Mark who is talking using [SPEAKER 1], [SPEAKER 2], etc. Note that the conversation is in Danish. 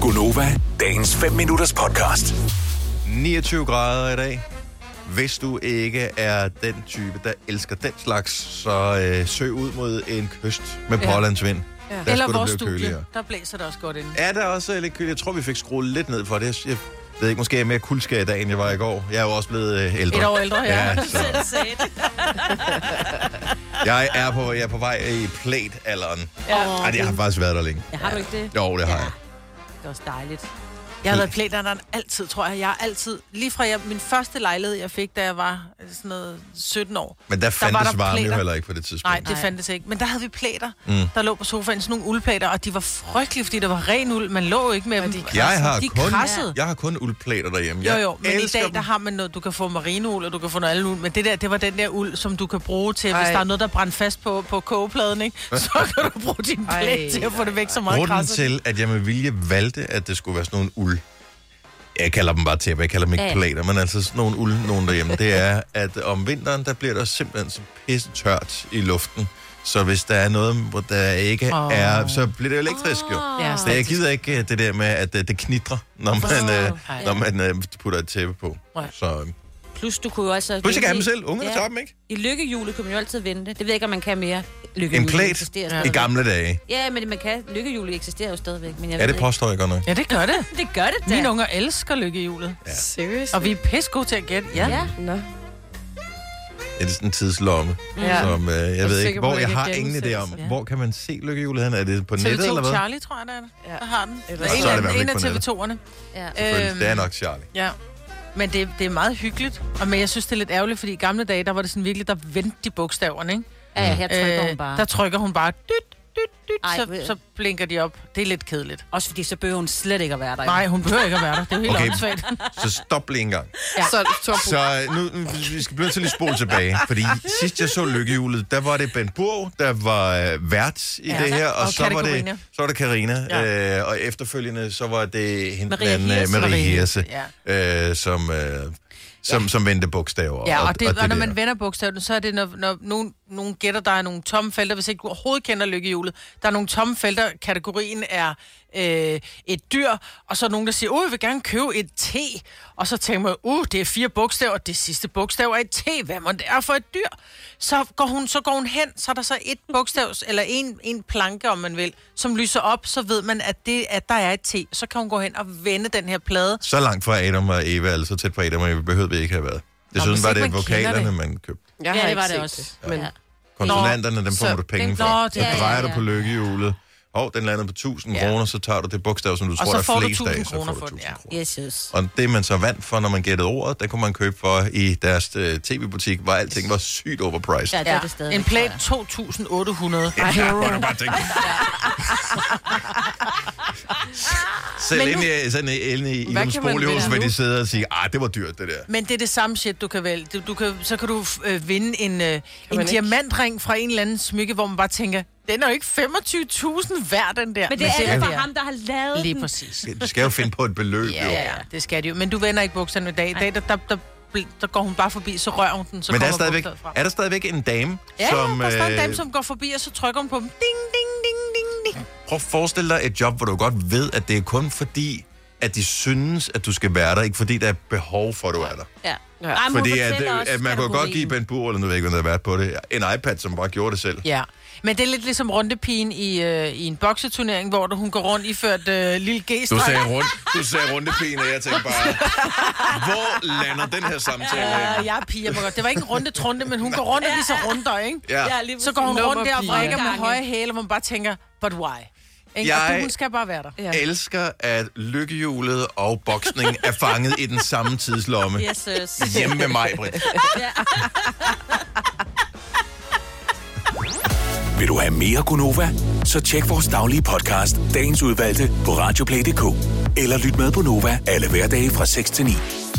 [SPEAKER 1] Gunova, dagens 5 minutters podcast.
[SPEAKER 2] 29 grader i dag. Hvis du ikke er den type, der elsker den slags, så øh, søg ud mod en kyst med
[SPEAKER 3] Ja.
[SPEAKER 2] pålandsvind. Ja. Der
[SPEAKER 3] Eller
[SPEAKER 2] skulle
[SPEAKER 3] vores
[SPEAKER 2] det blive
[SPEAKER 3] studie.
[SPEAKER 2] køligere.
[SPEAKER 3] Der blæser det også godt ind.
[SPEAKER 2] Er der også øh, lidt køligere? Jeg tror, vi fik skruet lidt ned for det. Jeg ved ikke, måske er jeg mere kuldskær i dag, end jeg var i går. Jeg er jo også blevet øh, ældre.
[SPEAKER 3] Et år ældre, ja.
[SPEAKER 2] ja så. Jeg er på, jeg er på vej i plæt-alderen.
[SPEAKER 3] ja.
[SPEAKER 2] Ej, det har faktisk været der længe.
[SPEAKER 4] Ja, har du ikke det?
[SPEAKER 2] Jo, det har jeg.
[SPEAKER 4] Det er også dejligt.
[SPEAKER 3] Jeg har været plæderen altid, tror jeg. Jeg har altid, lige fra jeg, min første lejlighed, jeg fik, da jeg var øh, sådan noget 17 år.
[SPEAKER 2] Men der
[SPEAKER 3] var
[SPEAKER 2] fandtes
[SPEAKER 3] der
[SPEAKER 2] varme jo
[SPEAKER 3] plæter.
[SPEAKER 2] heller ikke på det tidspunkt.
[SPEAKER 3] Nej, det
[SPEAKER 4] Nej.
[SPEAKER 3] fandtes ikke. Men der havde vi plæter, mm. der lå på sofaen, sådan nogle uldplæter, og de var frygtelige, fordi der var ren uld. Man lå ikke med dem. De
[SPEAKER 2] Jeg har,
[SPEAKER 3] de
[SPEAKER 2] kun,
[SPEAKER 3] krassede.
[SPEAKER 2] jeg har kun uldplæter derhjemme.
[SPEAKER 3] Jo,
[SPEAKER 2] Jeg
[SPEAKER 3] jo, men i
[SPEAKER 2] elsker
[SPEAKER 3] dag,
[SPEAKER 2] dem.
[SPEAKER 3] der har man noget, du kan få marineul, og du kan få noget andet uld, men det der, det var den der uld, som du kan bruge til, hvis
[SPEAKER 5] Ej.
[SPEAKER 3] der er noget, der brænder fast på, på kogepladen, ikke? Så kan du bruge din
[SPEAKER 5] Ej,
[SPEAKER 3] plæt til at få det væk så meget
[SPEAKER 2] Grunden
[SPEAKER 3] krasset.
[SPEAKER 2] til, at jeg med vilje valgte, at det skulle være sådan nogle uld... Jeg kalder dem bare tæpper, jeg kalder dem ikke
[SPEAKER 4] Ja.
[SPEAKER 2] planer, men altså sådan nogle uld, nogen derhjemme, det er, at om vinteren, der bliver der simpelthen så pisse tørt i luften. Så hvis der er noget, hvor der ikke oh.
[SPEAKER 3] Åh. Ah.
[SPEAKER 2] er, så bliver det elektrisk jo.
[SPEAKER 4] Ja,
[SPEAKER 2] Så jeg gider ikke øh, det der med, at øh, det knitrer, når man, øh,
[SPEAKER 3] Ej.
[SPEAKER 2] når man øh, putter et tæppe på.
[SPEAKER 3] Nej.
[SPEAKER 2] Så øh,
[SPEAKER 4] Plus, du kunne jo altså...
[SPEAKER 2] pludselig kan have dem selv. Ungerne
[SPEAKER 4] Ja.
[SPEAKER 2] tager dem, ikke?
[SPEAKER 4] I lykkehjulet kunne man jo altid vente. Det ved jeg ikke, om man kan mere. Lykkehjulet
[SPEAKER 2] En plæt
[SPEAKER 4] eksisterer
[SPEAKER 2] i
[SPEAKER 4] stadigvæk.
[SPEAKER 2] gamle dage.
[SPEAKER 4] Ja, men man kan. Lykkehjulet eksisterer jo stadigvæk. Men jeg
[SPEAKER 2] Ja,
[SPEAKER 4] ved
[SPEAKER 2] det påstår jeg godt nok.
[SPEAKER 3] Ja, det gør det.
[SPEAKER 4] ikke. Det gør det da.
[SPEAKER 3] Mine unger elsker lykkehjulet. Ja.
[SPEAKER 5] Seriøst?
[SPEAKER 3] Og vi er pisse gode til at gætte, ja.
[SPEAKER 4] Ja.
[SPEAKER 5] Nå.
[SPEAKER 2] Det er sådan en tidslomme.
[SPEAKER 3] Mm.
[SPEAKER 5] Ja.
[SPEAKER 2] som øh, jeg,
[SPEAKER 5] er
[SPEAKER 2] ved ikke,
[SPEAKER 5] sikker på,
[SPEAKER 2] hvor
[SPEAKER 5] det
[SPEAKER 2] jeg
[SPEAKER 5] ikke
[SPEAKER 2] har
[SPEAKER 5] er
[SPEAKER 2] ingen idé om.
[SPEAKER 5] gennemsendt.
[SPEAKER 3] Ja.
[SPEAKER 2] Hvor kan man se lykkehjulet hen? Er det på nettet eller
[SPEAKER 3] TV2
[SPEAKER 2] hvad?
[SPEAKER 3] Charlie, tror jeg, der, er.
[SPEAKER 5] Ja.
[SPEAKER 3] der har den. Eller
[SPEAKER 5] Så
[SPEAKER 2] er
[SPEAKER 3] en
[SPEAKER 2] det i
[SPEAKER 3] af,
[SPEAKER 2] hvert fald
[SPEAKER 3] en af
[SPEAKER 2] ikke
[SPEAKER 3] TV2'erne.
[SPEAKER 4] ja.
[SPEAKER 2] Selvfølgelig, Det er nok Charlie.
[SPEAKER 3] Øhm, Ja. Men det, det er meget hyggeligt. Og men jeg synes, det er lidt ærgerligt, fordi i gamle dage, der var det sådan virkelig, der vendte de bogstaverne, ikke?
[SPEAKER 4] Ja, ja, her trykker hun bare.
[SPEAKER 3] Øh, Der trykker hun bare, dyt, dyt, dyt,
[SPEAKER 4] Ej,
[SPEAKER 3] så,
[SPEAKER 4] ved-
[SPEAKER 3] så blinker de op. Det er lidt kedeligt.
[SPEAKER 4] Også fordi så behøver hun slet ikke at være der.
[SPEAKER 3] Nej, hun behøver ikke at være der. Det er jo helt
[SPEAKER 2] Okay.
[SPEAKER 3] okay. åndssvagt.
[SPEAKER 2] Så stop lige en gang.
[SPEAKER 3] Ja.
[SPEAKER 5] Så Torbo.
[SPEAKER 2] Så øh, nu, nu vi skal blive til at lige spole tilbage. Fordi sidst jeg så lykkehjulet, der var det Ben Burg, der var øh, vært i
[SPEAKER 3] Ja.
[SPEAKER 2] det her. Og,
[SPEAKER 3] Og
[SPEAKER 2] så, var
[SPEAKER 3] Katarina.
[SPEAKER 2] det, så var det Karina.
[SPEAKER 3] Ja.
[SPEAKER 2] Øh, og efterfølgende, så var det hende
[SPEAKER 4] Maria
[SPEAKER 2] den, øh,
[SPEAKER 4] Hirse.
[SPEAKER 2] Marie
[SPEAKER 3] Marie
[SPEAKER 2] Hirse,
[SPEAKER 3] Hirse,
[SPEAKER 2] øh, som, øh, som, som vendte bogstaver.
[SPEAKER 3] Ja, og, det, og, og når
[SPEAKER 2] der.
[SPEAKER 3] man vender bogstaven, så er det, når, når nogen, nogen gætter, der er nogle tomme felter, hvis ikke du overhovedet kender lykkehjulet. Der er nogle tomme felter, kategorien er øh, et dyr, og så er nogen, der siger, åh, jeg vil gerne købe et T. Og så tænker man, uh, det er fire bogstaver, det sidste bogstav er et T, hvad må det er for et dyr? Så går hun, så går hun hen, så er der så et bogstav, eller en, en planke, om man vil, som lyser op, så ved man, at, det, at der er et T. Så kan hun gå hen og vende den her plade,
[SPEAKER 2] Så langt fra Adam og Eva, altså så tæt på Adam og Eva, behøvede vi ikke have været. Desuden
[SPEAKER 3] hvis
[SPEAKER 2] var
[SPEAKER 3] ikke
[SPEAKER 2] det
[SPEAKER 3] man kender
[SPEAKER 2] vokalerne,
[SPEAKER 3] det.
[SPEAKER 2] man købte.
[SPEAKER 5] Jeg
[SPEAKER 4] Ja,
[SPEAKER 5] har
[SPEAKER 4] det
[SPEAKER 5] ikke
[SPEAKER 4] var det
[SPEAKER 5] set
[SPEAKER 4] også.
[SPEAKER 5] Men
[SPEAKER 4] Ja.
[SPEAKER 2] Konsonanterne, dem får
[SPEAKER 3] så
[SPEAKER 2] du penge
[SPEAKER 3] den-
[SPEAKER 2] for.
[SPEAKER 3] Nå,
[SPEAKER 2] Nå,
[SPEAKER 3] det-
[SPEAKER 2] så
[SPEAKER 3] ja, ja,
[SPEAKER 2] drejer
[SPEAKER 4] ja.
[SPEAKER 2] du på lykkehjulet, og den lander på 1000
[SPEAKER 3] Ja.
[SPEAKER 2] kroner, så tager du det bogstav, som du tror,
[SPEAKER 3] så
[SPEAKER 2] der er
[SPEAKER 3] får du
[SPEAKER 2] flest
[SPEAKER 3] 1000
[SPEAKER 2] af, så får
[SPEAKER 3] kroner
[SPEAKER 2] du
[SPEAKER 3] for den,
[SPEAKER 2] 1000
[SPEAKER 3] ja.
[SPEAKER 2] kroner.
[SPEAKER 4] Yes, yes.
[SPEAKER 2] Og det, man så vandt for, når man gættede ordet, der kunne man købe for i deres uh, tv-butik, hvor alting var sygt overpriced.
[SPEAKER 4] Ja,
[SPEAKER 2] Ja.
[SPEAKER 4] det er det stadig.
[SPEAKER 3] en plade 2800.
[SPEAKER 2] Ja, hvor du bare tænke. Selv inde i, sådan inde i, i
[SPEAKER 5] Hvad
[SPEAKER 2] nogle
[SPEAKER 5] kan man
[SPEAKER 2] bolighus,
[SPEAKER 5] vinde
[SPEAKER 2] hvor
[SPEAKER 5] nu?
[SPEAKER 2] de sidder og siger, ah, det var dyrt, det der.
[SPEAKER 3] Men det er det samme shit, du kan vælge. Du, du kan, så kan du øh, vinde en, øh, en
[SPEAKER 5] ikke?
[SPEAKER 3] diamantring fra en eller anden smykke, hvor man bare tænker, den er jo ikke 25.000 værd, den der.
[SPEAKER 4] Men det er
[SPEAKER 3] det
[SPEAKER 4] alt for ham, der har lavet
[SPEAKER 3] Lige
[SPEAKER 4] den.
[SPEAKER 3] præcis.
[SPEAKER 2] Du skal jo finde på et beløb,
[SPEAKER 3] Ja,
[SPEAKER 2] jo.
[SPEAKER 3] ja, ja, det skal det jo. Men du vender ikke bukserne i dag. I dag, der, der, der, bl- der går hun bare forbi, så rører hun den, så
[SPEAKER 2] Men der er,
[SPEAKER 3] kommer
[SPEAKER 2] stadigvæk,
[SPEAKER 3] bogstavet frem.
[SPEAKER 2] er der stadigvæk en dame,
[SPEAKER 3] Ja,
[SPEAKER 2] som...
[SPEAKER 3] som, der står en
[SPEAKER 2] øh,
[SPEAKER 3] dame, som går forbi, og så trykker hun på dem. Ding, ding, ding, ding, ding.
[SPEAKER 2] Prøv at forestille dig et job, hvor du godt ved, at det er kun fordi, at de synes, at du skal være der, ikke fordi der er behov for, at du er der.
[SPEAKER 4] Ja.
[SPEAKER 5] Ja.
[SPEAKER 4] Ej, men hun
[SPEAKER 2] Fordi at, øh,
[SPEAKER 4] fortæller også
[SPEAKER 2] at man kunne godt
[SPEAKER 4] kategorien.
[SPEAKER 2] give Ben Bur, eller nu ved jeg ikke, om der har været på det, en iPad, som bare gjorde det selv.
[SPEAKER 3] Ja, men det er lidt ligesom rundepigen i, øh, i en bokseturnering, hvor du- hun går rundt iført øh, lille g
[SPEAKER 2] Du sagde, rundt, du sagde rundepigen, og jeg tænkte bare, hvor lander den her samtale?
[SPEAKER 3] Ja,
[SPEAKER 2] hen?
[SPEAKER 3] jeg er pige, jeg må godt. Det var ikke en runde trunde, men hun går rundt og viser runder, ikke?
[SPEAKER 2] Ja.
[SPEAKER 4] Ja, lige
[SPEAKER 3] Så går hun rundt der og
[SPEAKER 5] Nummerpige.
[SPEAKER 3] vrikker med
[SPEAKER 4] Gange.
[SPEAKER 3] høje hæle, hvor man bare tænker, but why? Ikke?
[SPEAKER 2] Jeg-
[SPEAKER 3] Jeg... Og hun skal bare være der.
[SPEAKER 5] Ja.
[SPEAKER 2] Elsker, at lykkehjulet og boksning er fanget i den samme tidslomme.
[SPEAKER 4] Yes, yes.
[SPEAKER 2] Hjemme med mig, Britt.
[SPEAKER 1] Vil du have mere Gunova? Så tjek vores daglige podcast, dagens udvalgte, på radioplay.dk. Eller lyt med på Nova alle hverdage fra 6 til 9.